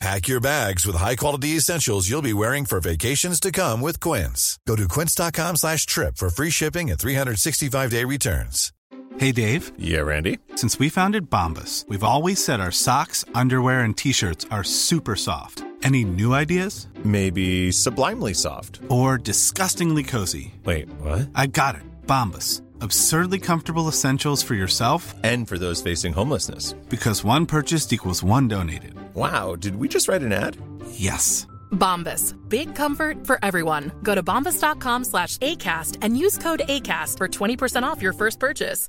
Pack your bags with high-quality essentials you'll be wearing for vacations to come with Quince. Go to quince.com slash trip for free shipping and 365-day returns. Hey Dave, Yeah, Randy. since we founded Bombus, we've always said our socks, underwear, and t shirts are super soft. Any new ideas? Maybe sublimely soft. Or disgustingly cozy? Wait, what? I got it, Bombus. Absurdly comfortable essentials for yourself And for those facing homelessness. because one purchased equals one donated. Wow, did we just write an ad? Yes. Bombas. Big comfort for everyone. Go to bombas.com slash ACAST and use code ACAST for 20% off your first purchase.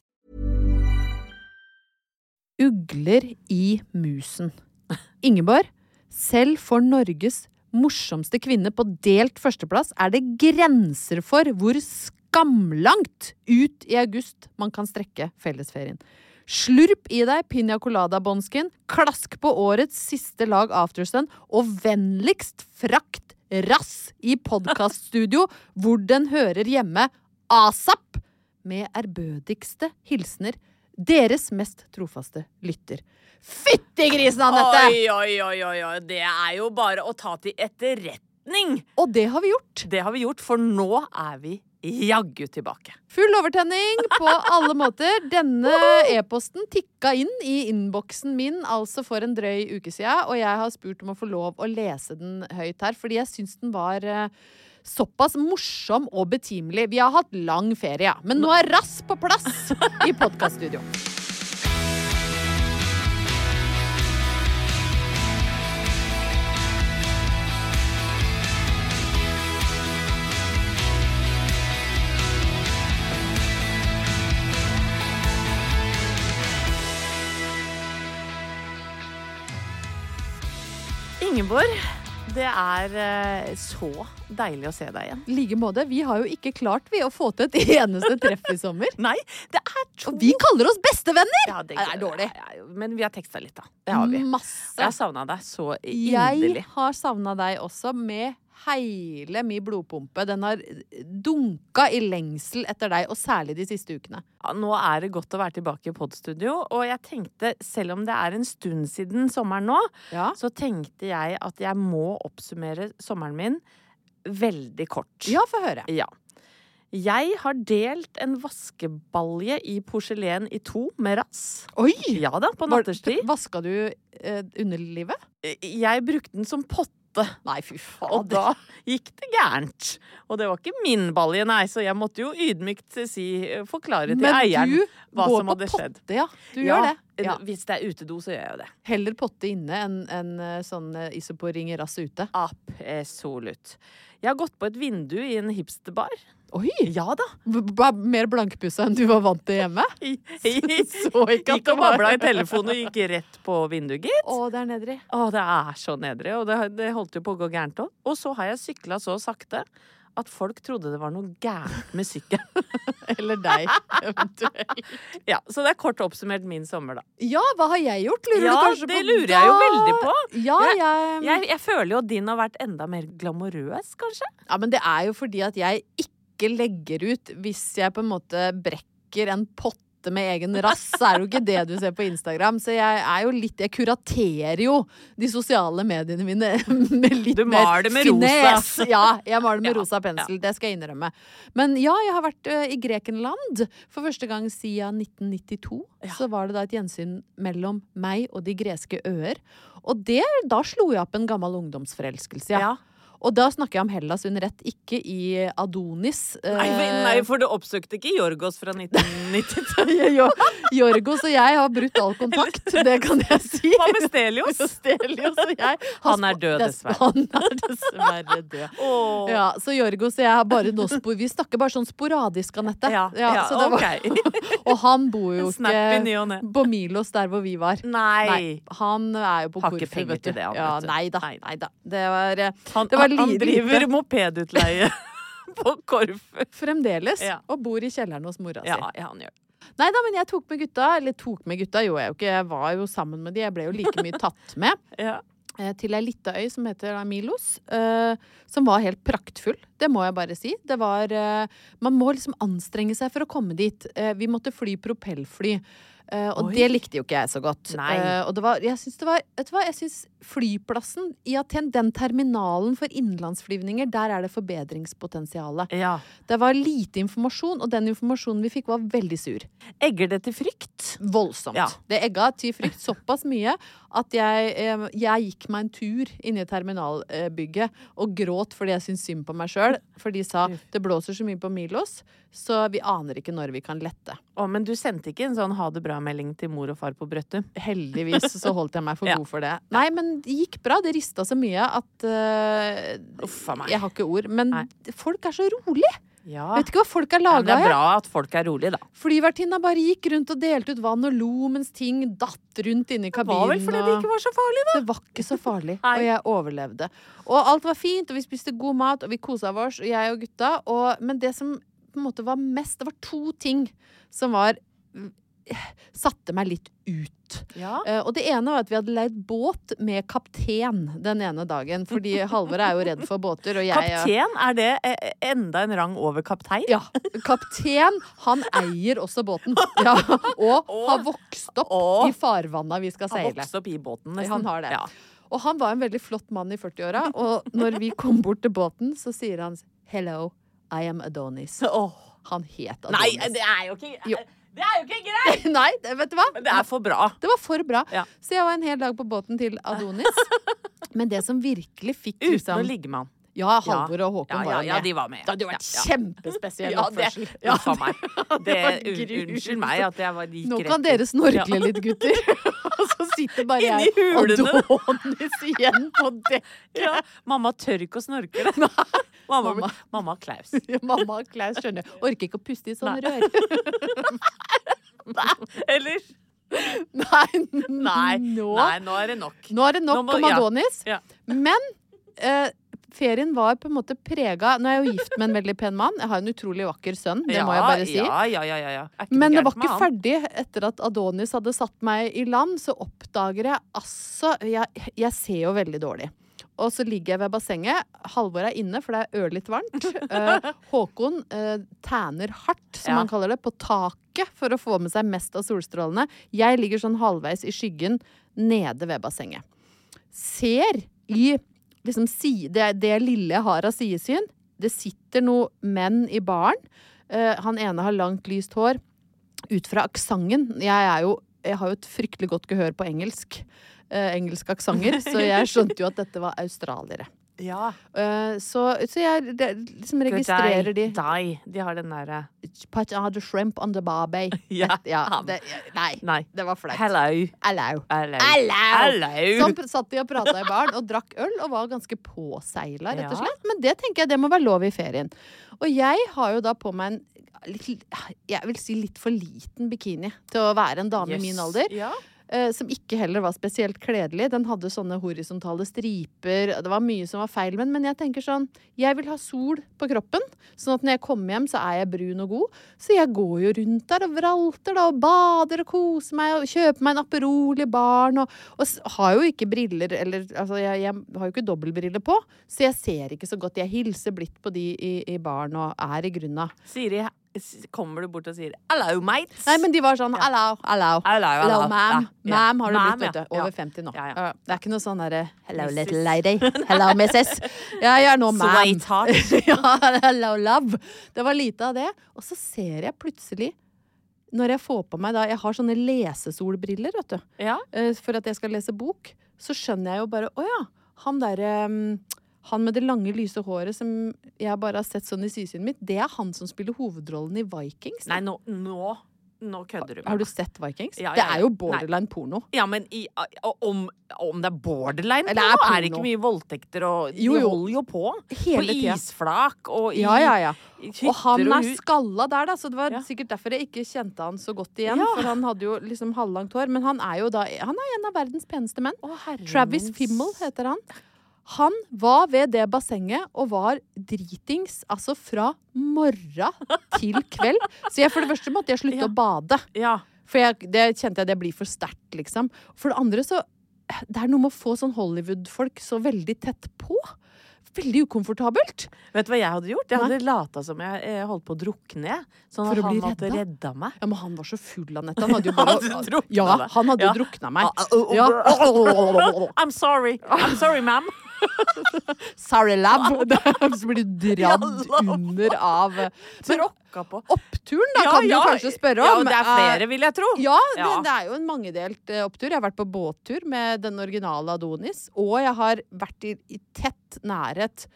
Ugler i musen. Ingeborg, selv for Norges morsomste kvinne på delt førsteplass er det grenser for hvor skamlangt ut i august man kan strekke fellesferien. Slurp i deg piña colada-bonsken, klask på årets siste lag aftersun, og vennligst frakt rass i podkaststudio hvor den hører hjemme asap! Med ærbødigste hilsener deres mest trofaste lytter. Fytti grisen, Anette! Oi, oi, oi, oi, oi. Det er jo bare å ta til etterretning. Og det har vi gjort. Det har vi gjort, for nå er vi jaggu tilbake. Full overtenning på alle måter. Denne e-posten tikka inn i innboksen min altså for en drøy uke siden, og jeg har spurt om å få lov å lese den høyt her, fordi jeg syns den var eh, Såpass morsom og betimelig. Vi har hatt lang ferie, ja. men nå er Rass på plass i podkaststudio. Ingeborg, det er eh, så deilig å se deg igjen. I like måte. Vi har jo ikke klart vi å få til et eneste treff i sommer. Nei, det er to Og vi kaller oss bestevenner! Ja, det, Det er dårlig. Ja, ja, Men vi har teksta litt, da. Det har vi. Jeg Masse. har savna deg så Jeg inderlig. har savna deg også, med hele min blodpumpe. Den har dunka i lengsel etter deg, og særlig de siste ukene. Ja, Nå er det godt å være tilbake i podstudio, og jeg tenkte, selv om det er en stund siden sommeren nå, Ja. så tenkte jeg at jeg må oppsummere sommeren min veldig kort. Ja, få høre. Ja. Jeg har delt en vaskebalje i porselen i to med rass. Oi! Ja da, på natterstid. Eh, Vaska du eh, underlivet? Jeg brukte den som potte, Nei, fy faen. og da gikk det gærent. Og det var ikke min balje, nei, så jeg måtte jo ydmykt si, eh, forklare til Men eieren du hva går som på hadde skjedd. potte, ja. Du Ja, gjør det. Ja. Hvis det er utedo, så gjør jeg jo det. Heller potte inne enn enn, eh, sånn eh, isoporing i rass ute. Absolutt. Jeg har gått på et vindu i en hipsterbar. Oi! Ja da. B -b mer blankpussa enn du var vant til hjemme? I, Så ikke at gikk det og var babla i telefonen og gikk rett på vinduet, gitt. Å, der nedri. Å, det er så nedre, og det, det holdt jo på å gå gærent òg. Og så har jeg sykla så sakte at folk trodde det var noe gærent med sykkelen. Eller deg, eventuelt. Ja, så det er kort oppsummert min sommer, da. Ja, hva har jeg gjort, lurer Ja, du kanskje på? det lurer jeg jo Da- veldig på. Ja, Jeg- jeg, Jeg, jeg føler jo at din har vært enda mer glamorøs, kanskje? Ja, men det er jo fordi at jeg ikke legger ut hvis jeg på en måte brekker en potte med egen rass, så er det jo ikke det du ser på Instagram. Så jeg er jo litt Jeg kuraterer jo de sosiale mediene mine med litt Du maler det med rosa. Ja, jeg maler med Ja, rosa pensel. Det skal jeg innrømme. Men ja, jeg har vært ø, i Grekenland for første gang siden 1992. Så var det da et gjensyn mellom meg og de greske øer. Og det, da slo jeg opp en gammel ungdomsforelskelse. Ja. Og da snakker jeg om Hellas under ett, ikke i Adonis. eh, Nei, men- nei, for du oppsøkte ikke Jorgos fra 1992. Jo- Jorgos og jeg har brutt all kontakt, det kan jeg si. Hva med Stelios? Stelios og jeg har Han er død, spo- dessverre. Han er dessverre død. Åh. Ja, så Jorgos og jeg har bare nå spor, Vi snakker bare sånn sporadisk, Anette. Ja, ja, så det var- ok. og han bor jo En snap i ny ikke og ne. på Milos, der hvor vi var. Nei. Han er jo på Har ikke Korfu, penger vet du. til det, han, ja, vet du. nei da, Nei. nei da. Det var, eh, Han, det var han, han li- driver lite mopedutleie på Korfu. fremdeles, Ja. og bor i kjelleren hos mora Ja, si. ja, han gjør det. Nei da, men jeg tok med gutta. Eller tok med gutta gjorde jeg jo ikke, jeg var jo sammen med de. Jeg ble jo like mye tatt med. Ja. eh, til ei lita øy som heter da Milos, eh, som var helt praktfull. Det må jeg bare si. Det var eh, Man må liksom anstrenge seg for å komme dit. Eh, vi måtte fly propellfly. eh, og Oi. det likte jo ikke jeg så godt. Nei. Eh, og det var, jeg syns det var Vet du hva, jeg syns flyplassen i Aten, den terminalen for innenlandsflyvninger, der er det forbedringspotensialet. ja. Det var lite informasjon, og den informasjonen vi fikk, var veldig sur. Egger det til frykt? Voldsomt. Ja. Det egga til frykt såpass mye at jeg, eh, jeg gikk meg en tur inne i terminalbygget og gråt fordi jeg syntes synd på meg sjøl. For de sa det blåser så mye på Milos, så vi aner ikke når vi kan lette. Å, men du sendte ikke en sånn ha det bra-melding til mor og far på Brøttum? Heldigvis så holdt jeg meg for Ja. god for det. Nei, men det gikk bra. Det rista så mye at eh, Uffa meg. Jeg har ikke ord. Men Nei. Ah. folk er så rolig. Ja. Vet ikke hva folk er Men det laga er av. bra at folk er rolige, da. Flyvertinna bare gikk rundt og delte ut vann og lo mens ting datt rundt inne i Det kabinen. var vel fordi det og- ikke var så farlig, da. Det var ikke så farlig, Nei. og jeg overlevde. Og alt var fint, og vi spiste god mat, og vi kosa oss, og jeg og gutta. Og, men det som på en måte var mest Det var to ting som var Satte meg litt ut. Ja. Eh, og det ene var at vi hadde leid båt med kaptein den ene dagen. Fordi Halvor er jo redd for båter, og jeg Kaptein, er det eh, enda en rang over kaptein? Ja. Kaptein, han eier også båten. Ja, og har vokst opp Å. i farvanna vi skal Han seile. vokste opp i båten, nesten. Han har det. Ja. Og han var en veldig flott mann i 40-åra, og når vi kom bort til båten, så sier han 'Hello, I am Adonis'. Åh. Han het Nei, Adonis. det er jo ikke Jo. Det er jo ikke greit! Nei, det- vet du hva? Men det er for bra. Det var for bra. Ja. Så jeg var en hel dag på båten til Adonis. Men det som virkelig fikk Uten liksom- å ligge med han. Ja, Halvor og Håkon ja, var jo ja, med. ja, de var med. Det hadde jo vært Ja, kjempespesiell Ja, det, oppførsel. ja, faen meg. Det, var un- grusomt. unnskyld meg at jeg var gikk Nå rett kan inn. dere snorkle Ja. litt, gutter. Og så sitter bare Inni jeg og hulene. Adonis igjen på dekk. Ja. Mamma tør ikke å snorke. Mamma, mamma. Mamma. mamma Klaus. Mamma og Klaus skjønner. Orker ikke å puste i sånne Nei. rør. Eller? Nei, Nei. nå, Nei, nå er det nok. nå er det nok Nå må- om ja. Adonis. Ja. Men eh, ferien var på en måte prega Nå er jeg jo gift med en veldig pen mann. Jeg har en utrolig vakker sønn, det må jeg bare si. Ja, ja, ja, ja, ja. Er ikke Men det gærent var med ikke han? ferdig etter at Adonis hadde satt meg i land, så oppdager jeg altså Jeg, jeg ser jo veldig dårlig. Og så ligger jeg ved bassenget. Halvor er inne, for det er ørlitt varmt. Eh, Håkon eh, tæner hardt, som Ja. han kaller det, på taket for å få med seg mest av solstrålene. Jeg ligger sånn halvveis i skyggen nede ved bassenget. Ser i liksom, si, det, det lille jeg har av sidesyn. Det sitter noen menn i baren. Eh, han ene har langt, lyst hår. Ut fra aksenten jeg, er jo- jeg har jo et fryktelig godt gehør på engelsk. Eh, engelske aksenter. Så jeg skjønte jo at dette var australiere. Ja. Eh, så, så jeg re- liksom Good registrerer de day, day. De har den derre Patch on the shrimp on the barbie. Ja, ja han. det, nei, Nei. det var flaut. Hello. Hello. Hello. Hello. Hello. Sånn pr- satt de og prata i baren og drakk øl og var ganske påseila, rett og Ja. slett. Men det tenker jeg det må være lov i ferien. Og jeg har jo da på meg en litt- jeg vil si litt for liten bikini til å være en dame i min Yes. alder. Ja. eh, Som ikke heller var spesielt kledelig. Den hadde sånne horisontale striper. Det var mye som var feil med den. Men jeg tenker sånn Jeg vil ha sol på kroppen. Sånn at når jeg kommer hjem, så er jeg brun og god. Så jeg går jo rundt der og vralter da, og bader og koser meg og kjøper meg en Aperol i baren. Og, og s- har jo ikke briller eller altså jeg, jeg har jo ikke dobbeltbriller på, så jeg ser ikke så godt. Jeg hilser blidt på de i, i baren og er i grunna. Siri, s- kommer du bort og sier 'hello, mate'? Nei, men de var sånn hello, hello. Hello, hello. ma'am. Ja, ja. Ma'am har du Ma'am, blitt, vet ja. du. Over Ja. 50 nå. Ja, ja. Eh, Det er ikke noe sånn derre Hello, Mrs. little lady. Hello, missus. Ja, jeg er nå ma'am. Sweetheart. ja, hello, love. Det var lite av det. Og så ser jeg plutselig, når jeg får på meg da Jeg har sånne lesesolbriller, vet du. Ja. eh, For at jeg skal lese bok. Så skjønner jeg jo bare Å ja, han derre Han med det lange, lyse håret som jeg bare har sett sånn i sysynet mitt, det er han som spiller hovedrollen i Vikings. Nei, nå, nå, nå kødder du. med Har du meg. sett Vikings? Ja, det ja, er ja. jo borderline porno. Ja, men i, om, om det er borderline, Eller det er, er det ikke porno. mye voldtekter og Jo, De jo. holder jo på. Hele på tida. isflak og i Ja, ja, ja. i hytter Og han er hus. skalla der, da, så det var Ja. sikkert derfor jeg ikke kjente han så godt igjen. Ja. For han hadde jo liksom halvlangt hår. Men han er jo da Han er en av verdens peneste menn. Å, herre Travis min s- Fimmel heter han. Han var ved det bassenget og var dritings altså fra morra til kveld. Så jeg, for det første måtte jeg slutte Ja. å bade. Ja. For jeg, det kjente jeg det blir for sterkt, liksom. For det andre så Det er noe med å få sånn Hollywood-folk så veldig tett på. Veldig ukomfortabelt. Vet du hva jeg hadde gjort? Jeg hadde lata som jeg eh, holdt på å drukne. jeg. Sånn For at å han bli hadde redda? redda meg. Ja, men han var så full, Anette. Han hadde jo Han bare hadde drukna Ja, deg. han hadde Ja. jo drukna meg. Ah, oh, oh, Ja. I'm sorry. I'm sorry, ma'am. Sorry, love. Så blir du dradd Ja, love. under av Men Tråkka på. oppturen, da, kan du kanskje spørre om. eh, Ja, det er flere, vil jeg tro. Ja, det, Ja. det er jo en mangedelt eh, opptur. Jeg har vært på båttur med den originale Adonis, og jeg har vært i, i tett nærhet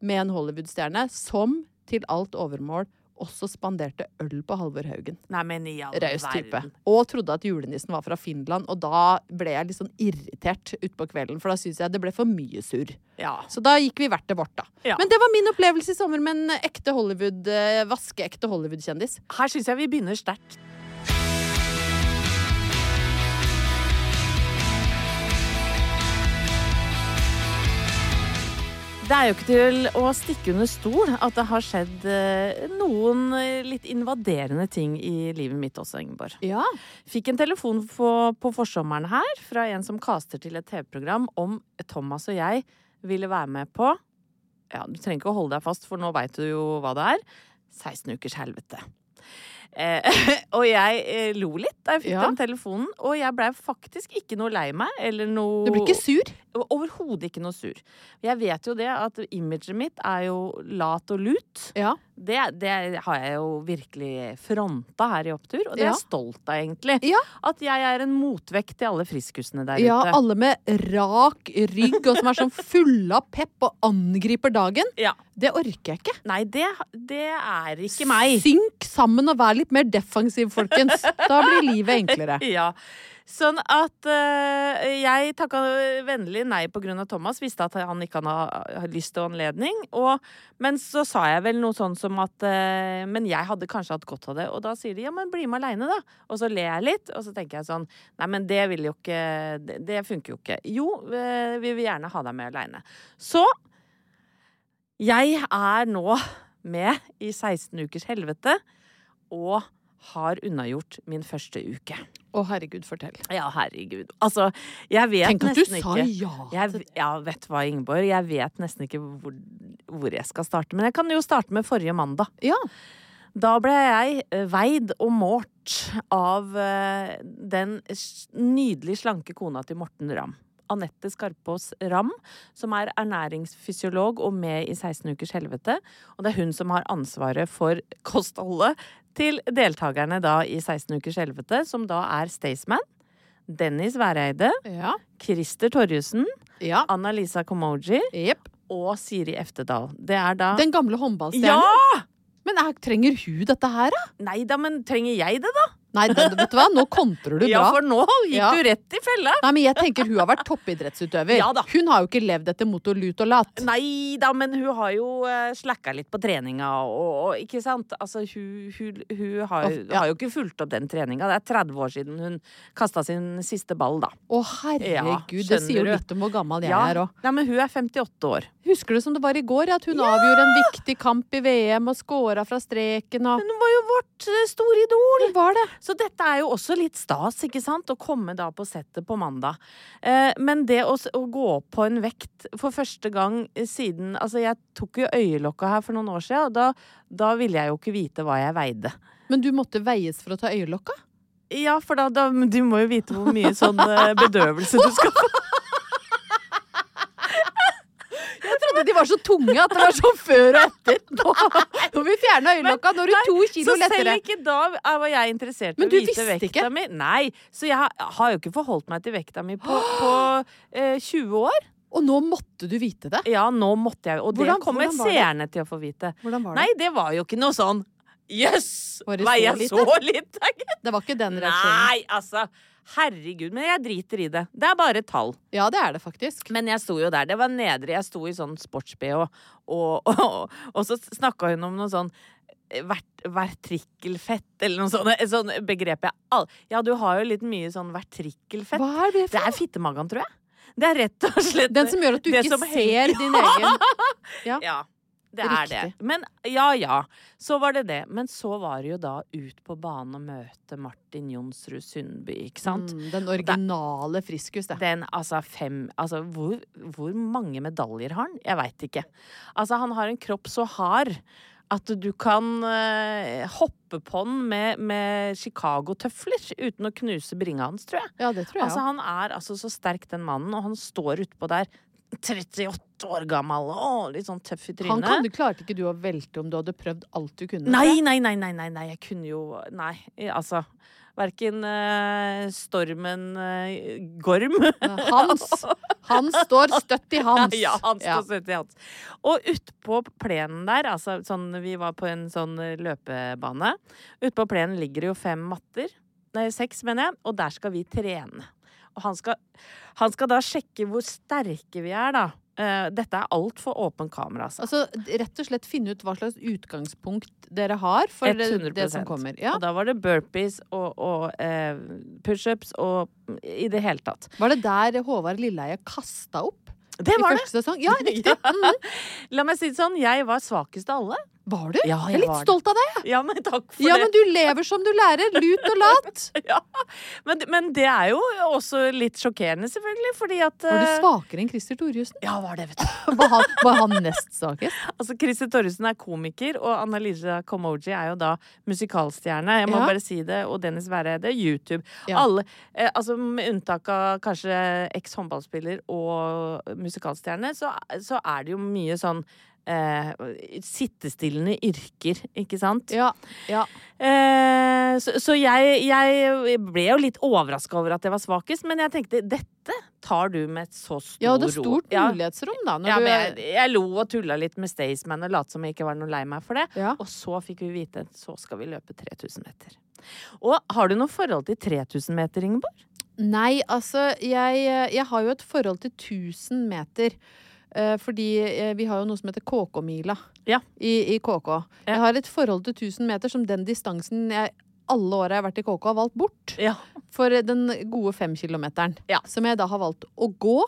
med en Hollywood-stjerne som til alt overmål også spanderte øl på Halvor Haugen. Nei, men i all Raus type. verden. Og trodde at julenissen var fra Finland, og da ble jeg litt sånn irritert utpå kvelden, for da syntes jeg det ble for mye surr. Ja. Så da gikk vi hvert til vårt, da. Ja. Men det var min opplevelse i sommer med en ekte Hollywood, eh, vaskeekte Hollywood-kjendis. Her syns jeg vi begynner sterkt. Det er jo ikke til å stikke under stol at det har skjedd eh, noen eh, litt invaderende ting i livet mitt også, Ingeborg. Ja. Fikk en telefon på, på forsommeren her fra en som kaster til et TV-program om Thomas og jeg ville være med på Ja, du trenger ikke å holde deg fast, for nå veit du jo hva det er. 16 ukers helvete. Eh, og jeg eh, lo litt da jeg fikk Ja. den telefonen, og jeg blei faktisk ikke noe lei meg eller noe Du blir ikke sur? Overhodet ikke noe sur. Jeg vet jo det at imaget mitt er jo lat og lut. Ja. Det, det har jeg jo virkelig fronta her i Opptur, og det er Ja. jeg stolt av, egentlig. Ja. At jeg er en motvekt til alle friskusene der Ja, ute. alle med rak rygg og som er sånn fulle av pepp og angriper dagen. Ja. Det orker jeg ikke. Nei, det, det er ikke meg. Synk sammen og vær litt mer defensiv, folkens. Da blir livet enklere. Ja. Sånn at eh, jeg takka vennlig nei på grunn av Thomas. Visste at han ikke hadde lyst og anledning. Og, men så sa jeg vel noe sånn som at eh, Men jeg hadde kanskje hatt godt av det. Og da sier de ja, men bli med aleine, da. Og så ler jeg litt, og så tenker jeg sånn Nei, men det vil jo ikke Det, det funker jo ikke. Jo, eh, vi vil gjerne ha deg med aleine. Så jeg er nå med i 16 ukers helvete og har unnagjort min første uke. Å, herregud, fortell. Ja, herregud. Altså, jeg vet Tenk at du nesten sa ikke ja. jeg, ja, vet du hva, Ingeborg? Jeg vet nesten ikke hvor, hvor jeg skal starte. Men jeg kan jo starte med forrige mandag. Ja. Da ble jeg eh, veid og målt av eh, den s- nydelig slanke kona til Morten Ramm. Anette Skarpaas Ramm, som er ernæringsfysiolog og med i 16 ukers helvete. Og det er hun som har ansvaret for kostholdet til deltakerne da i 16 ukers helvete, som da er Staysman, Dennis Væreide, Ja. Christer Torjussen, ja. Anna-Lisa Komoji Jepp. og Siri Eftedal. Det er da Den gamle håndballstjernen. Ja! Men er, trenger hun dette her, da? Nei da, men trenger jeg det, da? Nei, det, vet du hva, nå kontrer du Ja, bra. for nå gikk Ja. du rett i fella. Nei, men jeg tenker hun har vært toppidrettsutøver. Ja da. Hun har jo ikke levd etter motor lut og lat. Nei da, men hun har jo eh, slacka litt på treninga og, og Ikke sant? Altså, hun, hun, hun Å, har, ja. har jo ikke fulgt opp den treninga. Det er 30 år siden hun kasta sin siste ball, da. Å, herregud, det skjønner sier jo du. litt om hvor gammel jeg er òg. Nei, men hun er 58 år. Husker du som det var i går, at hun avgjorde en viktig kamp i VM og scora fra streken og Men hun var jo vårt eh, store idol! Hvor var det? Så dette er jo også litt stas, ikke sant? Å komme da på settet på mandag. Eh, men det å, s- å gå opp på en vekt for første gang siden Altså, jeg tok jo øyelokka her for noen år siden, og da, da ville jeg jo ikke vite hva jeg veide. Men du måtte veies for å ta øyelokka? Ja, for da, da men Du må jo vite hvor mye sånn eh, bedøvelse du skal få. Jeg trodde de var så tunge at det var sånn før og etter. Nå, nå må vi fjerne øyelokka, nå er du to kilo Så selv lettere. ikke da er- var jeg interessert i Men å du vite visste vekta ikke? mi. Nei, så jeg har, har jo ikke forholdt meg til vekta mi på, på eh, 20 år. Og nå måtte du vite det? Ja, nå måtte jeg Og Hvordan- det kommer hvordan var det? seerne til å få vite. Hvordan var det? Nei, det var jo ikke noe sånn Jøss! Var det var så jeg lite? så lite? Det var ikke den reaksjonen. Nei, altså. Herregud. Men jeg driter i det. Det er bare tall. Ja, det er det faktisk. Men jeg sto jo der. Det var nedre. Jeg sto i sånn sports-BH, og, og, og, og så snakka hun om noe sånn eh, vert- Vertrikkelfett eller noe sånt. Et sånt begrep jeg all... Ja, du har jo litt mye sånn vertrikkelfett. Hva er det Det for er fittemagen, tror jeg. Det er rett og slett Den som gjør at du det ikke som henger- ser din egen Ja. Det er det. Riktig. Men ja, ja. Så var det det. Men så var det jo da ut på banen og møte Martin Jonsrud Sundby, ikke sant? mm, Den originale friskus, det. Den, altså fem Altså, hvor, hvor mange medaljer har han? Jeg veit ikke. Altså, han har en kropp så hard at du kan eh, hoppe på den med, med Chicago-tøfler uten å knuse bringa hans, tror jeg. Ja, det tror jeg. Altså, ja. han er altså så sterk, den mannen, og han står utpå der, 38 år gammel, og litt sånn tøff i Han trynet. kan, klarte ikke du å velte om du hadde prøvd alt du kunne? Nei, nei, nei, nei, nei, nei, jeg kunne jo Nei, altså. Verken eh, stormen eh, Gorm Eh, Hans. Han står støtt i hans. Ja, han Ja. står søtt i hans. Og utpå plenen der, altså sånn Vi var på en sånn løpebane. Utpå plenen ligger det jo fem matter. Nei, seks, mener jeg. Og der skal vi trene. Og han skal, han skal da sjekke hvor sterke vi er, da. Eh, Dette er altfor åpen kamera, altså. Altså, rett og slett finne ut hva slags utgangspunkt dere har for det, det som kommer. Ja. Og da var det burpees og, og eh, pushups og i det hele tatt. Var det der Håvard Lilleheie kasta opp? Det var I det! første sesong? Ja, riktig. Mhm. La meg si det sånn, jeg var svakest av alle. Var du? Ja, jeg er jeg litt var det. stolt av deg. Ja, men takk for Ja, det. men du lever som du lærer. Lut og lat. Ja, men, men det er jo også litt sjokkerende, selvfølgelig, fordi at Var du eh, svakere enn Christer Thorjussen? Ja, var det, vet du. Var, han- var han nest svakest? Altså, Christer Torresen er komiker, og Annalisa Komoji er jo da musikalstjerne. Jeg må Ja. bare si det. Og Dennis Væreide, YouTube. Ja. Alle, eh, altså Med unntak av kanskje eks-håndballspiller og musikalstjerne, så, så er det jo mye sånn eh, sittestillende yrker, ikke sant? Ja. ja. Eh, så så jeg, jeg ble jo litt overraska over at jeg var svakest, men jeg tenkte dette tar du med et så stor ro. ja og det er stort Ja. mulighetsrom, da. Når Ja, men du, jeg, jeg lo og tulla litt med Staysman og lot som jeg ikke var noe lei meg for det. Ja. Og så fikk vi vite så skal vi løpe 3000 meter. Og har du noe forhold til 3000 meter, Ingeborg? Nei, altså, jeg, jeg har jo et forhold til 1000 meter. eh, Fordi eh, vi har jo noe som heter KK-mila Ja. i, i KK. Ja. Jeg har et forhold til 1000 meter som den distansen jeg alle åra jeg har vært i KK, har valgt bort. Ja. For den gode femkilometeren. Ja. Som jeg da har valgt å gå.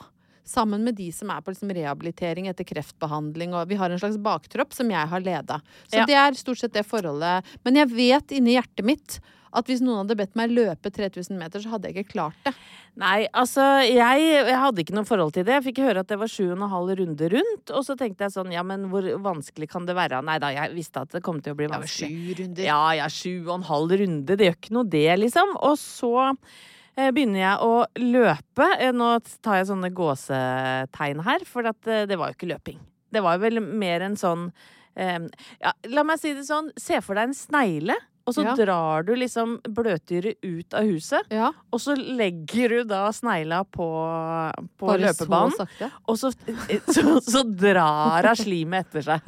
Sammen med de som er på liksom rehabilitering etter kreftbehandling. Og vi har en slags baktropp som jeg har leda. Så Ja. det er stort sett det forholdet. Men jeg vet inni hjertet mitt at hvis noen hadde bedt meg løpe 3000 meter, så hadde jeg ikke klart det. Nei, altså jeg, jeg hadde ikke noe forhold til det. Jeg fikk høre at det var sju og en halv runde rundt. Og så tenkte jeg sånn, ja, men hvor vanskelig kan det være? Nei da, jeg visste at det kom til å bli vanskelig. runder. Ja, ja, sju og en halv runde. Det gjør ikke noe, det, liksom. Og så eh, begynner jeg å løpe. Eh, Nå tar jeg sånne gåsetegn her, for at, eh, det var jo ikke løping. Det var vel mer en sånn eh, ja, La meg si det sånn. Se for deg en snegle, og så Ja. drar du liksom bløtdyret ut av huset. Ja, Og så legger du da snegla på, på bare løpebanen. så sakte. Og så, eh, så, så drar hun slimet etter seg.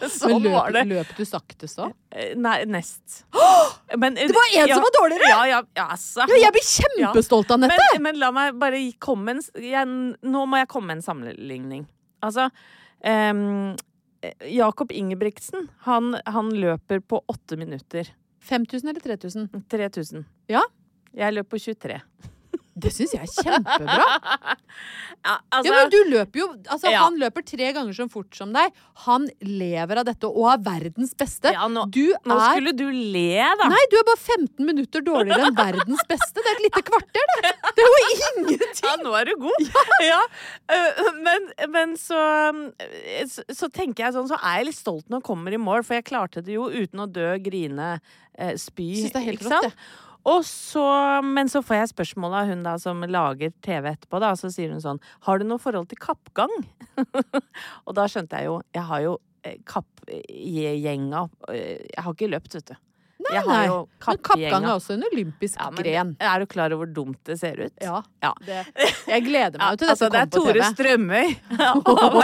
Men sånn løp, var det. løp du sakte så? Eh, Nei, nest. det var en som var dårligere! Ja, ja, ja, altså. Ja, jeg blir kjempestolt, Anette! men, men la meg bare gi- komme en s- jeg, Nå må jeg komme med en sammenligning. Altså ehm, Jakob Ingebrigtsen, han, han løper på åtte minutter. 5000 eller 3000? 3000. Ja. Jeg løp på 23. Det syns jeg er kjempebra. Ja, altså, Ja, men du løper jo Altså, Ja. han løper tre ganger så fort som deg. Han lever av dette og er verdens beste. Ja, nå- du er nå skulle du le, da. Nei, du er bare 15 minutter dårligere enn verdens beste. Det er et lite kvarter, det! Det er jo ingenting! Ja, nå er du god. Ja. øh, Men, men så, øh, så Så tenker jeg sånn, så er jeg litt stolt når jeg kommer i mål, for jeg klarte det jo uten å dø, grine, eh, spy. Synes det er helt ikke rått, sant? det. Og så, men så får jeg spørsmål av hun da som lager TV etterpå, da. Så sier hun sånn Har du noe forhold til kappgang? og da skjønte jeg jo Jeg har jo eh, kappgjenga eh, Jeg har eh, ikke løpt, vet du. Jeg har Nei, jo Men kappgang er kappgjenga. også en olympisk Ja, men gren. Er du klar over hvor dumt det ser ut? Ja. Ja. Det, jeg gleder meg jo til dette Ja, altså, det er kommer på Tore TV. Strømøy. Han har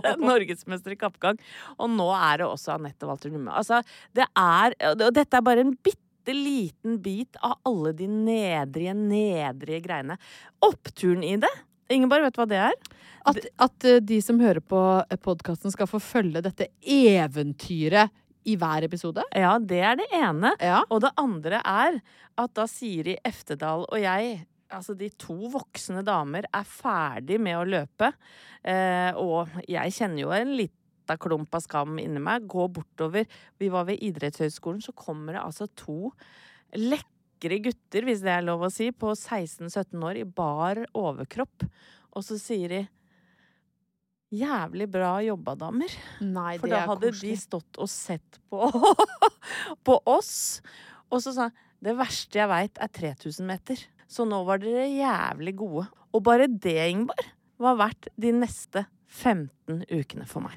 vært norgesmester i kappgang. Og nå er det også Anette Walter Numme. Altså, det er, og dette er bare en bitte liten bit av alle de nedrige, nedrige greiene. Oppturen i det Ingeborg, vet du hva det er? At, at eh, de som hører på podkasten, skal få følge dette eventyret i hver episode. Ja, det er det ene. Ja. Og det andre er at da Siri Eftedal og jeg Altså, de to voksne damer er ferdig med å løpe. Eh, og jeg kjenner jo en lita klump av skam inni meg. Gå bortover. Vi var ved idrettshøyskolen, så kommer det altså to lekre gutter, hvis det er lov å si, på 16-17 år i bar overkropp. Og så sier de Jævlig bra jobba, damer. Nei, For det da er hadde de koselig. stått og sett på, på oss. Og så sa han det verste jeg veit er 3000 meter. Så nå var dere jævlig gode. Og bare det, Ingeborg, var verdt de neste 15 ukene for meg.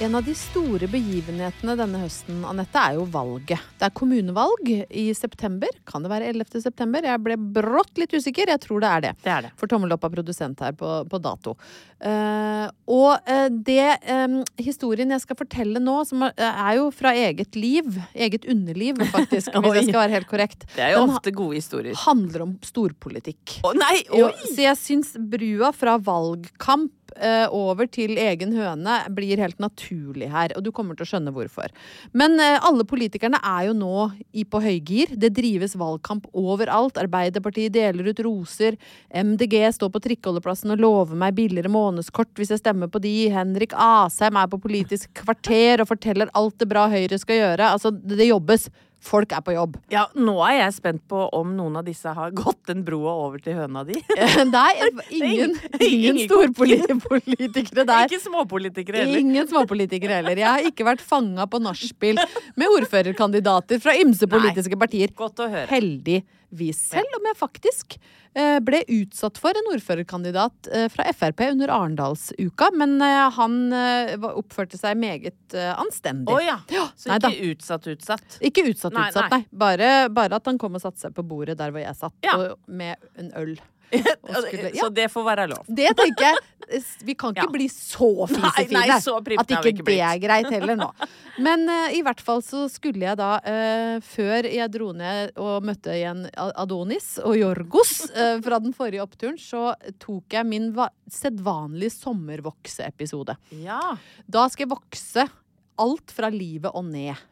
En av de store begivenhetene denne høsten, Anette, er jo valget. Det er kommunevalg i september. Kan det være 11. september? Jeg ble brått litt usikker. Jeg tror det er det. Det er det. For tommel opp av produsent her på, på dato. Eh, og eh, det eh, historien jeg skal fortelle nå, som er, er jo fra eget liv, eget underliv faktisk, Oi. hvis jeg skal være helt korrekt, Det er jo Den ha- ofte gode historier. handler om storpolitikk. Å nei! Jo, Oi! så jeg syns brua fra valgkamp eh, over til egen høne blir helt naturlig her, og du kommer til å skjønne hvorfor. Men eh, alle politikerne er jo nå i på høygir. Det drives valgkamp overalt. Arbeiderpartiet deler ut roser. MDG står på trikkeholdeplassen og lover meg billigere månedskort hvis jeg stemmer på de. Henrik Asheim er på Politisk kvarter og forteller alt det bra Høyre skal gjøre. Altså, det det jobbes. Folk er på jobb. Ja, nå er jeg spent på om noen av disse har gått den broa over til høna di. Nei, ingen, ingen storpolitikere der. Ikke småpolitikere heller. Ingen småpolitikere heller. Jeg har ikke vært fanga på nachspiel med ordførerkandidater fra ymse politiske partier. Godt å høre. Heldigvis. Selv om jeg faktisk eh, ble utsatt for en ordførerkandidat eh, fra Frp under Arendalsuka. Men eh, han eh, var- oppførte seg meget eh, anstendig. Å ja. Så Nei da. ikke utsatt, utsatt. Ikke utsatt, Nei, utsatt, nei. nei. Bare, bare at han kom og satte seg på bordet der hvor jeg satt, Ja. og, med en øl. Og skulle- ja. Så det får være lov. Det tenker jeg. s- Vi kan ikke Ja. bli så fisefine Nei, nei, så prippen at har vi ikke, det ikke blitt. er greit heller nå. Men eh, i hvert fall så skulle jeg da, eh, før jeg dro ned og møtte igjen A- Adonis og Jorgos eh, fra den forrige oppturen, så tok jeg min va sedvanlige sommervokseepisode. Ja. Da skal jeg vokse alt fra livet og ned.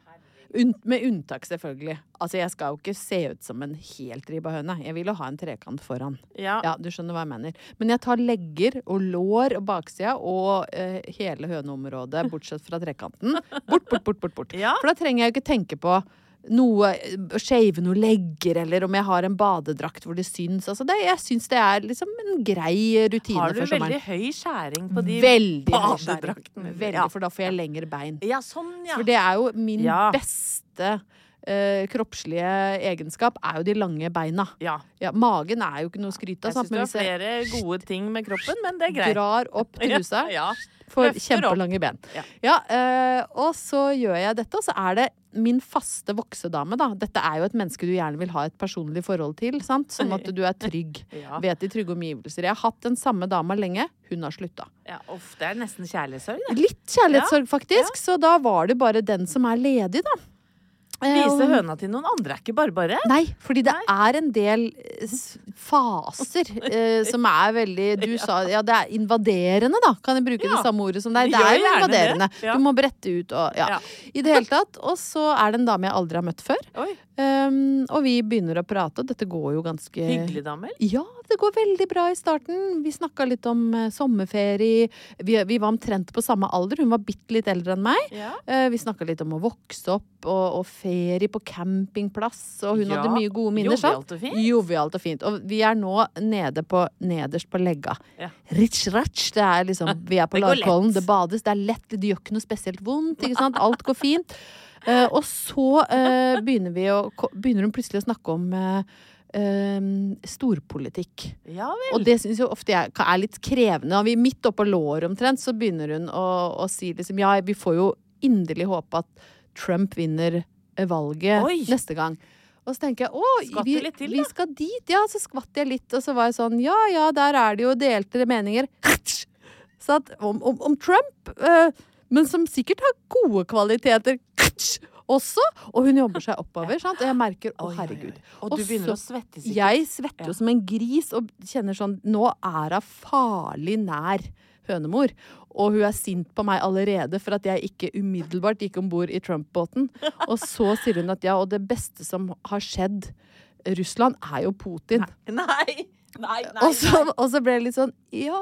Un med unntak, selvfølgelig. Altså, jeg skal jo ikke se ut som en helt ribba høne. Jeg vil jo ha en trekant foran. Ja. Du skjønner hva jeg mener. Men jeg tar legger og lår og baksida og eh, hele høneområdet, bortsett fra trekanten. Bort, bort, bort, bort. bort. For da trenger jeg jo ikke tenke på noe, å shave noen legger, eller om jeg har en badedrakt hvor det syns. Altså det, jeg syns det er liksom en grei rutine Har du før sommeren. veldig høy skjæring på de Veldig høy skjæring. badedraktene? Veldig, Ja. For da får jeg lengre bein. Ja, sånn, ja. For det er jo min Ja. beste eh, kroppslige egenskap er jo de lange beina. Ja, magen er jo ikke noe å Jeg skryte av. sant? syns du Men har hvis jeg flere gode ting med kroppen, men det er greit. drar opp trusa, Ja, ja. får Løfter opp. kjempelange ben. Ja. Ja, eh, og så gjør jeg dette, og så er det min faste voksedame, da. Dette er jo et menneske du gjerne vil ha et personlig forhold til, sant? Sånn at du er trygg. Ja. Vet de trygge omgivelser. Jeg har hatt den samme dama lenge. Hun har slutta. Ja, uff, det er nesten kjærlighetssorg, det. Litt kjærlighetssorg, faktisk. Så da var det bare den som er ledig, da. Eh, Vise og- høna til noen andre er ikke bare bare. Nei, fordi det er en del eh, s- faser eh, som er veldig Du sa ja, det er invaderende, da. Kan jeg bruke Ja. det samme ordet som deg? Vi Det gjør er jo gjerne det. invaderende. Ja. Du må brette ut og ja. Ja. I det hele tatt. Og så er det en dame jeg aldri har møtt før. Oi. Um, og vi begynner å prate, og dette går jo ganske Hyggelig dame. eller? ja, det går veldig bra i starten. Vi snakka litt om eh, sommerferie. Vi, vi var omtrent på samme alder. Hun var bitte litt eldre enn meg. Ja. Eh, Vi snakka litt om å vokse opp og, og ferie på campingplass. Og hun Ja. hadde mye gode minner. Jovialt sant? og fint. Jovialt og fint. Og vi er nå nede på, nederst på legga. Ja. Ritch ratch. Det er liksom, vi er på Det går Larkollen, lett. det bades, det er lett, det gjør ikke noe spesielt vondt. Ikke sant? Alt går fint. Eh, og så eh, begynner, vi å, ko- begynner hun plutselig å snakke om eh, eh, storpolitikk. Ja vel. Og det syns jeg ofte jeg ka- er litt krevende. Og vi midt oppå låret omtrent, så begynner hun å, å si liksom Ja, vi får jo inderlig håpe at Trump vinner eh, valget Oi. neste gang. Og så tenker jeg å, Skvatt vi, du litt til, vi da? skal dit. Ja, så skvatt jeg litt, og så var jeg sånn Ja ja, der er det jo delte meninger. Så at, om, om, om Trump, eh, men som sikkert har gode kvaliteter også. Og hun jobber seg oppover, sant? og jeg merker å, herregud. Og du begynner å så- svette, sikkert. Jeg svetter jo som en gris og kjenner sånn Nå er hun farlig nær hønemor. Og hun er sint på meg allerede for at jeg ikke umiddelbart gikk om bord i Trump-båten. Og så sier hun at ja, og det beste som har skjedd Russland, er jo Putin. Nei! Nei, nei, Og så, og så ble det litt sånn Ja,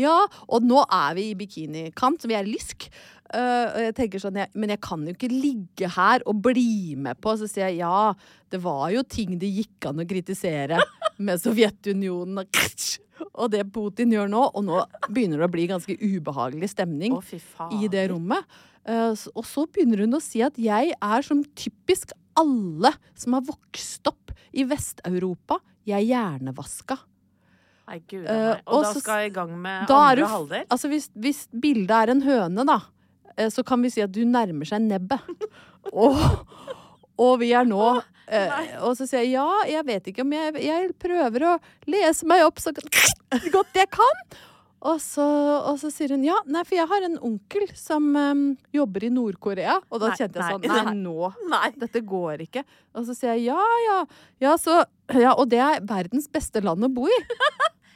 ja. Og nå er vi i bikinikant, så vi er lysk. Eh, og jeg tenker sånn, jeg, Men jeg kan jo ikke ligge her og bli med på. Så sier jeg ja, det var jo ting det gikk an å kritisere med Sovjetunionen og og det Putin gjør nå. Og nå begynner det å bli ganske ubehagelig stemning Å, fy faen. i det rommet. Eh, s- og så begynner hun å si at jeg er som typisk alle som har vokst opp i Vest-Europa, jeg er hjernevaska. Nei, gud, Eh, nei. Og og da så- skal jeg i gang med Da er andre du f- halvdel. Altså hvis, hvis bildet er en høne, da, eh, så kan vi si at du nærmer seg nebbet. og, og vi er nå eh, Og så sier jeg ja, jeg vet ikke om jeg Jeg prøver å lese meg opp så godt jeg kan. Og så, og så sier hun ja, nei, for jeg har en onkel som eh, jobber i Nord-Korea. Og da Nei, kjente jeg sånn nei, nei, nei. nå. Nei. Dette går ikke. Og så sier jeg ja, ja. Ja, så, ja og det er verdens beste land å bo i.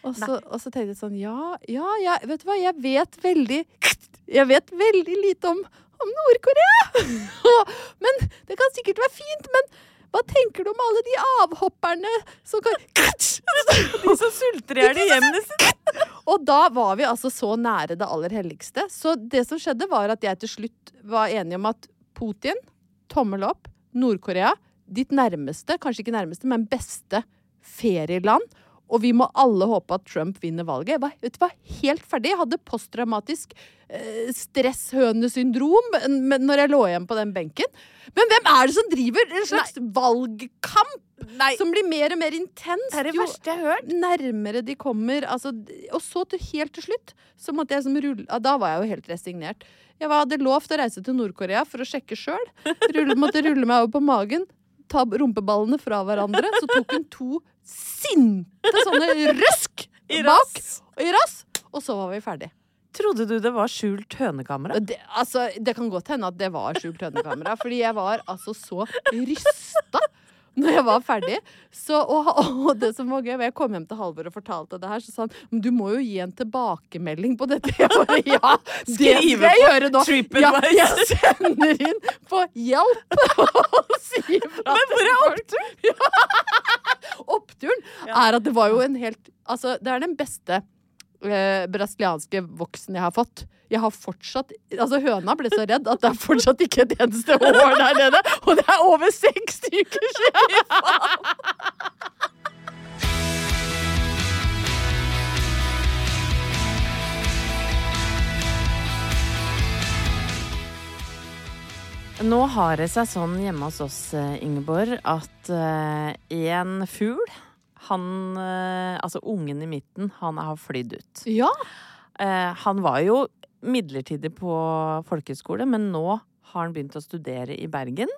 Og så, og så tenkte jeg sånn Ja, ja, jeg, vet du hva, jeg vet veldig Jeg vet veldig lite om, om Nord-Korea! men det kan sikkert være fint, men hva tenker du om alle de avhopperne som kan De som sulter i hjel i hjemmene sine! Og da var vi altså så nære det aller helligste. Så det som skjedde, var at jeg til slutt var enig om at Putin, tommel opp, Nord-Korea, ditt nærmeste, kanskje ikke nærmeste, men beste ferieland. Og vi må alle håpe at Trump vinner valget. Jeg var, vet du hva, helt ferdig. Jeg hadde posttraumatisk eh, stresshønesyndrom n- men- når jeg lå igjen på den benken. Men hvem er det som driver en slags valgkamp som blir mer og mer intens? Det er det jo verste jeg har hørt. nærmere de kommer altså, d- Og så til, helt til slutt så måtte jeg som rulle ja, Da var jeg jo helt resignert. Jeg var, hadde lovt å reise til Nord-Korea for å sjekke sjøl. Rulle- Måtte rulle meg over på magen, ta rumpeballene fra hverandre. Så tok hun to sinte sånne røsk I bak rass. og i rass, og så var vi ferdig. Trodde du det var skjult hønekamera? Og Det, altså, det kan godt hende at det var skjult hønekamera, fordi jeg var altså så rysta når jeg var ferdig. Så, og, og det som var gøy, var jeg kom hjem til Halvor og fortalte det her, så sa han men du må jo gi en tilbakemelding på dette. Jeg bare, ja, det skal Skrive jeg på gjøre nå. Ja, TripAdvisor. jeg sender inn på hjelp og sier fra. Men hvor er oppturen? oppturen er at det var jo en helt Altså, det er den beste eh, brasilianske voksen jeg har fått. Jeg har fortsatt Altså, høna ble så redd at det er fortsatt ikke et eneste hår der nede. Og det er over seks uker siden! Nå har det seg sånn hjemme hos oss, eh, Ingeborg, at eh, en fugl han, eh, altså ungen i midten, han har flydd ut. Ja. Eh, han var jo midlertidig på folkehøyskole, men nå har han begynt å studere i Bergen.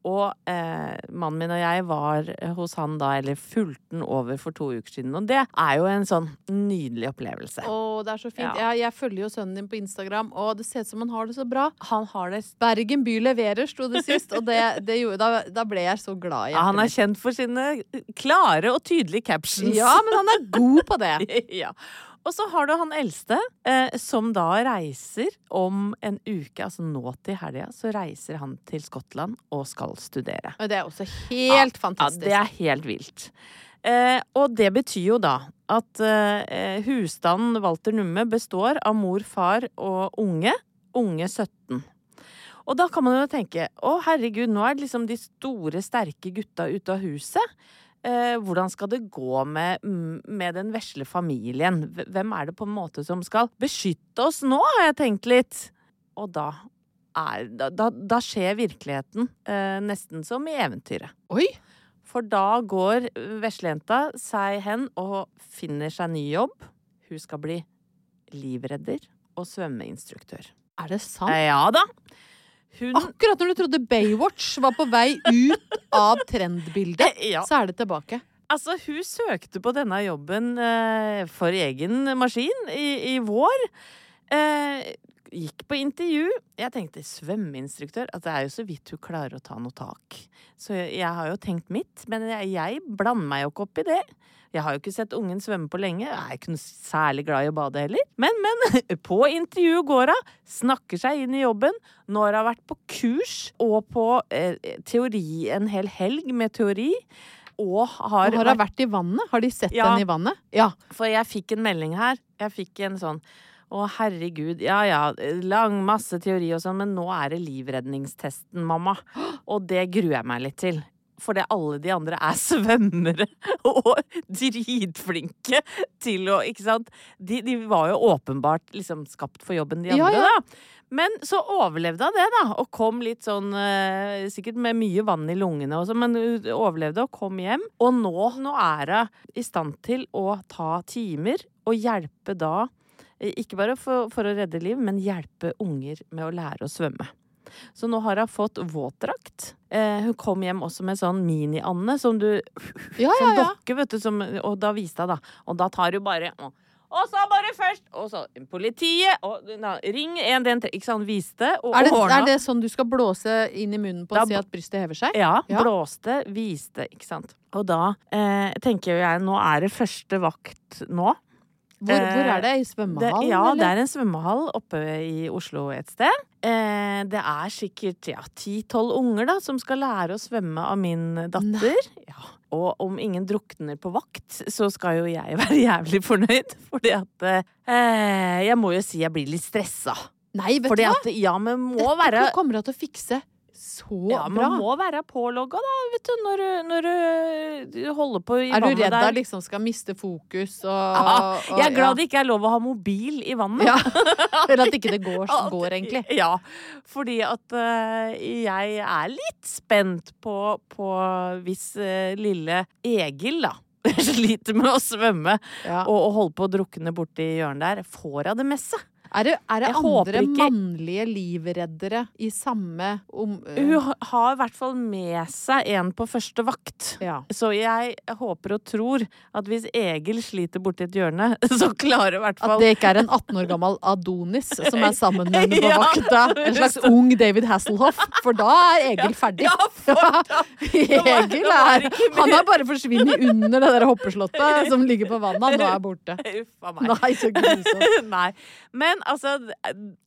Og eh, mannen min og jeg var hos han da, eller fulgte han over for to uker siden. Og det er jo en sånn nydelig opplevelse. Å, det er så fint. Ja. Jeg, jeg følger jo sønnen din på Instagram, og det ser ut som han har det så bra. Han har det Bergen by leverer, sto det sist, og det, det gjorde, da, da ble jeg så glad i Ja, han er kjent for sine klare og tydelige captions. Ja, men han er god på det. ja. Og så har du han eldste, eh, som da reiser om en uke, altså nå til helga, så reiser han til Skottland og skal studere. Og det er også helt fantastisk. Ja, det er helt vilt. Eh, og det betyr jo da at eh, husstanden Walter Numme består av mor, far og unge. Unge 17. Og da kan man jo tenke å herregud, nå er det liksom de store, sterke gutta ute av huset. Eh, hvordan skal det gå med, m- med den vesle familien? Hv- Hvem er det på en måte som skal beskytte oss nå, har jeg tenkt litt. Og da, er, da, da, da skjer virkeligheten eh, nesten som i eventyret. Oi! For da går veslejenta seg hen og finner seg ny jobb. Hun skal bli livredder og svømmeinstruktør. Er det sant? Eh, Ja da. Hun Akkurat når du trodde Baywatch var på vei ut av trendbildet, Ja. så er det tilbake. Altså, hun søkte på denne jobben eh, for egen maskin i, i vår. Eh, gikk på intervju. Jeg tenkte svømmeinstruktør. At det er jo så vidt hun klarer å ta noe tak. Så jeg, jeg har jo tenkt mitt, men jeg, jeg blander meg jo ikke opp i det. Jeg har jo ikke sett ungen svømme på lenge. Jeg er ikke noe særlig glad i å bade heller. Men, men. På intervjuet går hun. Snakker seg inn i jobben. Når hun har vært på kurs og på eh, teori en hel helg med teori. Og har, Og har hun vært i vannet? Har de sett Ja. henne i vannet? Ja. for jeg fikk en melding her. Jeg fikk en sånn Å, herregud. Ja ja, lang masse teori og sånn, men nå er det livredningstesten, mamma. Og det gruer jeg meg litt til. Fordi alle de andre er svømmere og dritflinke til å Ikke sant? De, de var jo åpenbart liksom skapt for jobben, de Ja, andre, ja. da. Men så overlevde hun det, da. Og kom litt sånn eh, Sikkert med mye vann i lungene og sånn, men hun overlevde og kom hjem. Og nå, nå er hun i stand til å ta timer og hjelpe da eh, Ikke bare for, for å redde liv, men hjelpe unger med å lære å svømme. Så nå har hun fått våtdrakt. Eh, hun kom hjem også med sånn mini-Anne som du Ja, Som ja, ja. dokke, vet du. Som, og da viste hun, da. Og da tar hun bare og, og så bare først! Og så politiet, og na, ring 113. Ikke sant? Viste og Er det, ordna. er det sånn du skal blåse inn i munnen på Da og si at brystet hever seg? Ja, Ja. blåste, viste, ikke sant. Og da eh, tenker jo jeg, nå er det første vakt nå. Hvor, hvor er det? I Eh, Det, svømmehallen, ja, det eller? er en svømmehall oppe i Oslo et sted. Eh, det er sikkert ja, 10-12 unger da, som skal lære å svømme av min datter. Ja. Og om ingen drukner på vakt, så skal jo jeg være jævlig fornøyd. Fordi at eh, Jeg må jo si jeg blir litt stressa. Nei, vet fordi du hva? at ja, men må Dette være kommer hun til å fikse så ja, bra. Man må være pålogga, da, vet du, når, du- når du- du holder på i Er du vannet redd der. hun liksom skal miste fokus og, Ja, og jeg er glad det ikke er lov å ha mobil i vannet. Ja. Eller at ikke det går som At- går, egentlig. Ja, fordi at eh, jeg er litt spent på, på hvis eh, lille Egil, da. Sliter med å svømme Ja. og, og holde på å drukne borti hjørnet der. Får hun det med seg? Er det, er det Jeg håper andre ikke- mannlige livreddere i samme om... Hun ha- har i hvert fall med seg en på første vakt. Så jeg håper og tror at hvis Egil sliter borti et hjørne, så klarer i hvert fall At det ikke er en 18 år gammel Adonis som er sammen med henne på Ja. vakta. En slags ung David Hasselhoff. For da er Egil ferdig. Egil er Han har bare forsvunnet under det der hoppeslottet som ligger på vannet. Han nå er borte. Uff a meg. Nei, så grusomt. Nei. Men altså,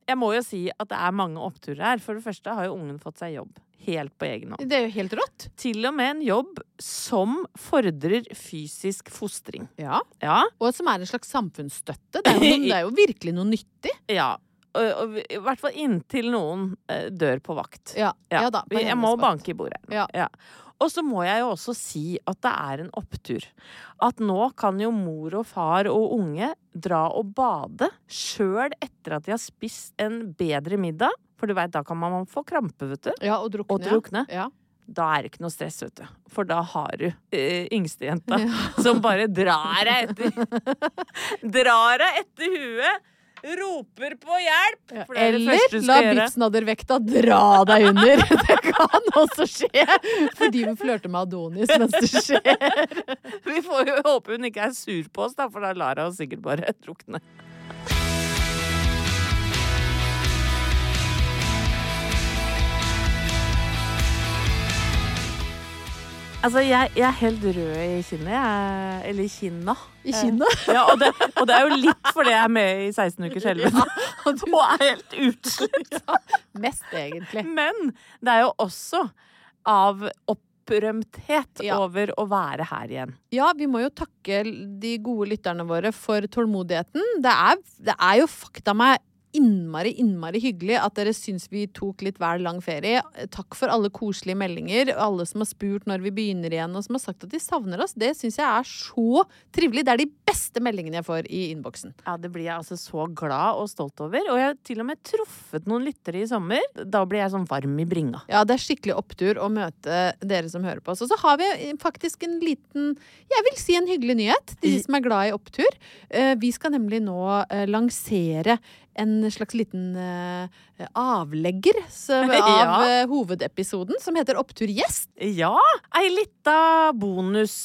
jeg må jo si at det er mange oppturer her. For det første har jo ungen fått seg jobb. Helt på egen hånd. Det er jo helt rått. Til og med en jobb som fordrer fysisk fostring. Ja. Ja. Og som er en slags samfunnsstøtte. Det er jo, det er jo virkelig noe nyttig. Ja. Og, og, I hvert fall inntil noen eh, dør på vakt. Ja, ja da, på jeg hennes må vakt. banke i bordet. Ja. Og så må jeg jo også si at det er en opptur. At nå kan jo mor og far og unge dra og bade sjøl etter at de har spist en bedre middag. For du veit, da kan man få krampe, vet du. Ja, og drukne. ja. Ja. Da er det ikke noe stress, vet du. For da har du eh, yngstejenta som bare drar deg etter Drar deg etter huet, roper på hjelp! For det er det første Eller du la skal gjøre. bipsnaddervekta dra deg under. Det kan også skje. Fordi vi flørter med Adonis mens det skjer. Vi får jo håpe hun ikke er sur på oss, da, for da lar hun oss sikkert bare drukne. Altså, jeg, jeg er helt rød i kinnet, jeg. Eller i kinna. Eh, I kinnet? Ja, og det, og det er jo litt fordi jeg er med i 16 ukers helvete. og er helt utslitt. Mest, egentlig. Men det er jo også av opprømthet over å være her igjen. Ja, vi må jo takke de gode lytterne våre for tålmodigheten. Det er, det er jo fakta meg innmari, innmari hyggelig at dere syns vi tok litt vel lang ferie. Takk for alle koselige meldinger, og alle som har spurt når vi begynner igjen, og som har sagt at de savner oss. Det syns jeg er så trivelig. Det er de beste meldingene jeg får i innboksen. Ja, det blir jeg altså så glad og stolt over. Og jeg har til og med truffet noen lyttere i sommer. Da blir jeg sånn varm i bringa. Ja, det er skikkelig opptur å møte dere som hører på oss. Og så har vi faktisk en liten, jeg vil si en hyggelig nyhet, til de som er glad i opptur. Eh, Vi skal nemlig nå eh, lansere en slags liten eh, avlegger så- av Ja. eh, hovedepisoden, som heter Opptur gjest. Ja! Ei lita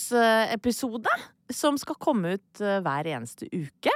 bonusepisode som skal komme ut eh, hver eneste uke.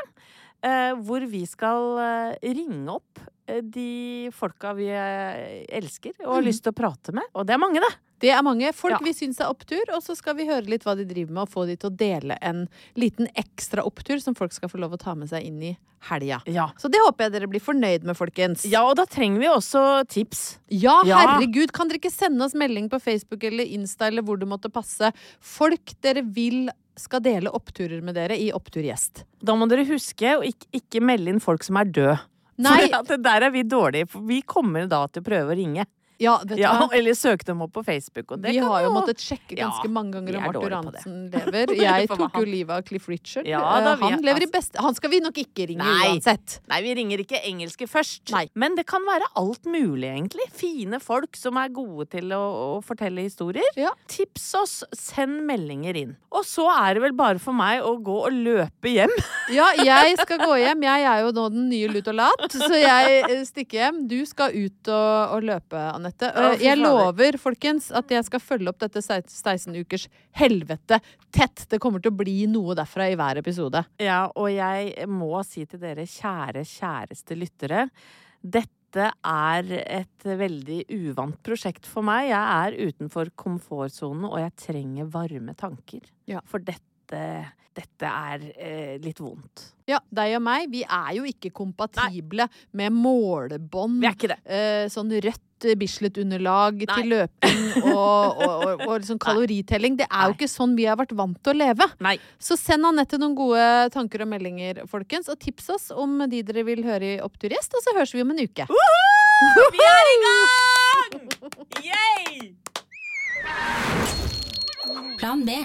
eh, Hvor vi skal eh, ringe opp eh, de folka vi eh, elsker og har Mhm. lyst til å prate med. Og det er mange, det! Det er mange folk Ja. vi syns er opptur, og så skal vi høre litt hva de driver med, og få de til å dele en liten ekstra opptur som folk skal få lov å ta med seg inn i helga. Så det håper jeg dere blir fornøyd med, folkens. Ja, og da trenger vi også tips. Ja, Ja. herregud, kan dere ikke sende oss melding på Facebook eller Insta eller hvor det måtte passe? Folk dere vil skal dele oppturer med dere i Oppturgjest. Da må dere huske å ikke, ikke melde inn folk som er døde. Nei. For at det der er vi dårlige. For vi kommer da til å prøve å ringe. Ja, vet du hva? Eller søke dem opp på Facebook. Og det Vi kan har jo jo måttet sjekke ganske Ja, mange ganger vi om er Arthur dårlige på det. Hansen lever. Jeg For tok jo han- livet av Cliff Richard. Ja, da, Eh, vi- altså- han lever i beste Han skal vi nok ikke ringe Nei. uansett. Nei, vi ringer ikke engelske først. Men det kan være alt mulig, egentlig. Fine folk som er gode til å, å fortelle historier. Tips oss, send meldinger inn. Og så er det vel bare for meg å gå og løpe hjem. Ja, jeg skal gå hjem. Jeg er jo nå den nye lut og lat, så jeg eh, stikker hjem. Du skal ut og, og løpe, Anette. Å, Eh, fy Jeg fader. lover, folkens, at jeg skal følge opp dette 16 ukers helvete tett. Det kommer til å bli noe derfra i hver episode. Ja, og jeg må si til dere kjære, kjæreste lyttere. Dette er et veldig uvant prosjekt for meg. Jeg er utenfor komfortsonen, og jeg trenger varme tanker. For dette, dette er eh, litt vondt. Ja, deg og meg, vi er jo ikke kompatible med målebånd. Vi er ikke det. Eh, sånn rødt eh, Bislett-underlag til løping og, og, og, og sånn kaloritelling. Det er jo ikke sånn vi har vært vant til å leve. Så send Anette noen gode tanker og meldinger, folkens, og tips oss om de dere vil høre i Opptur gjest, og så høres vi om en uke. Vi er i gang! Yay! Plan B.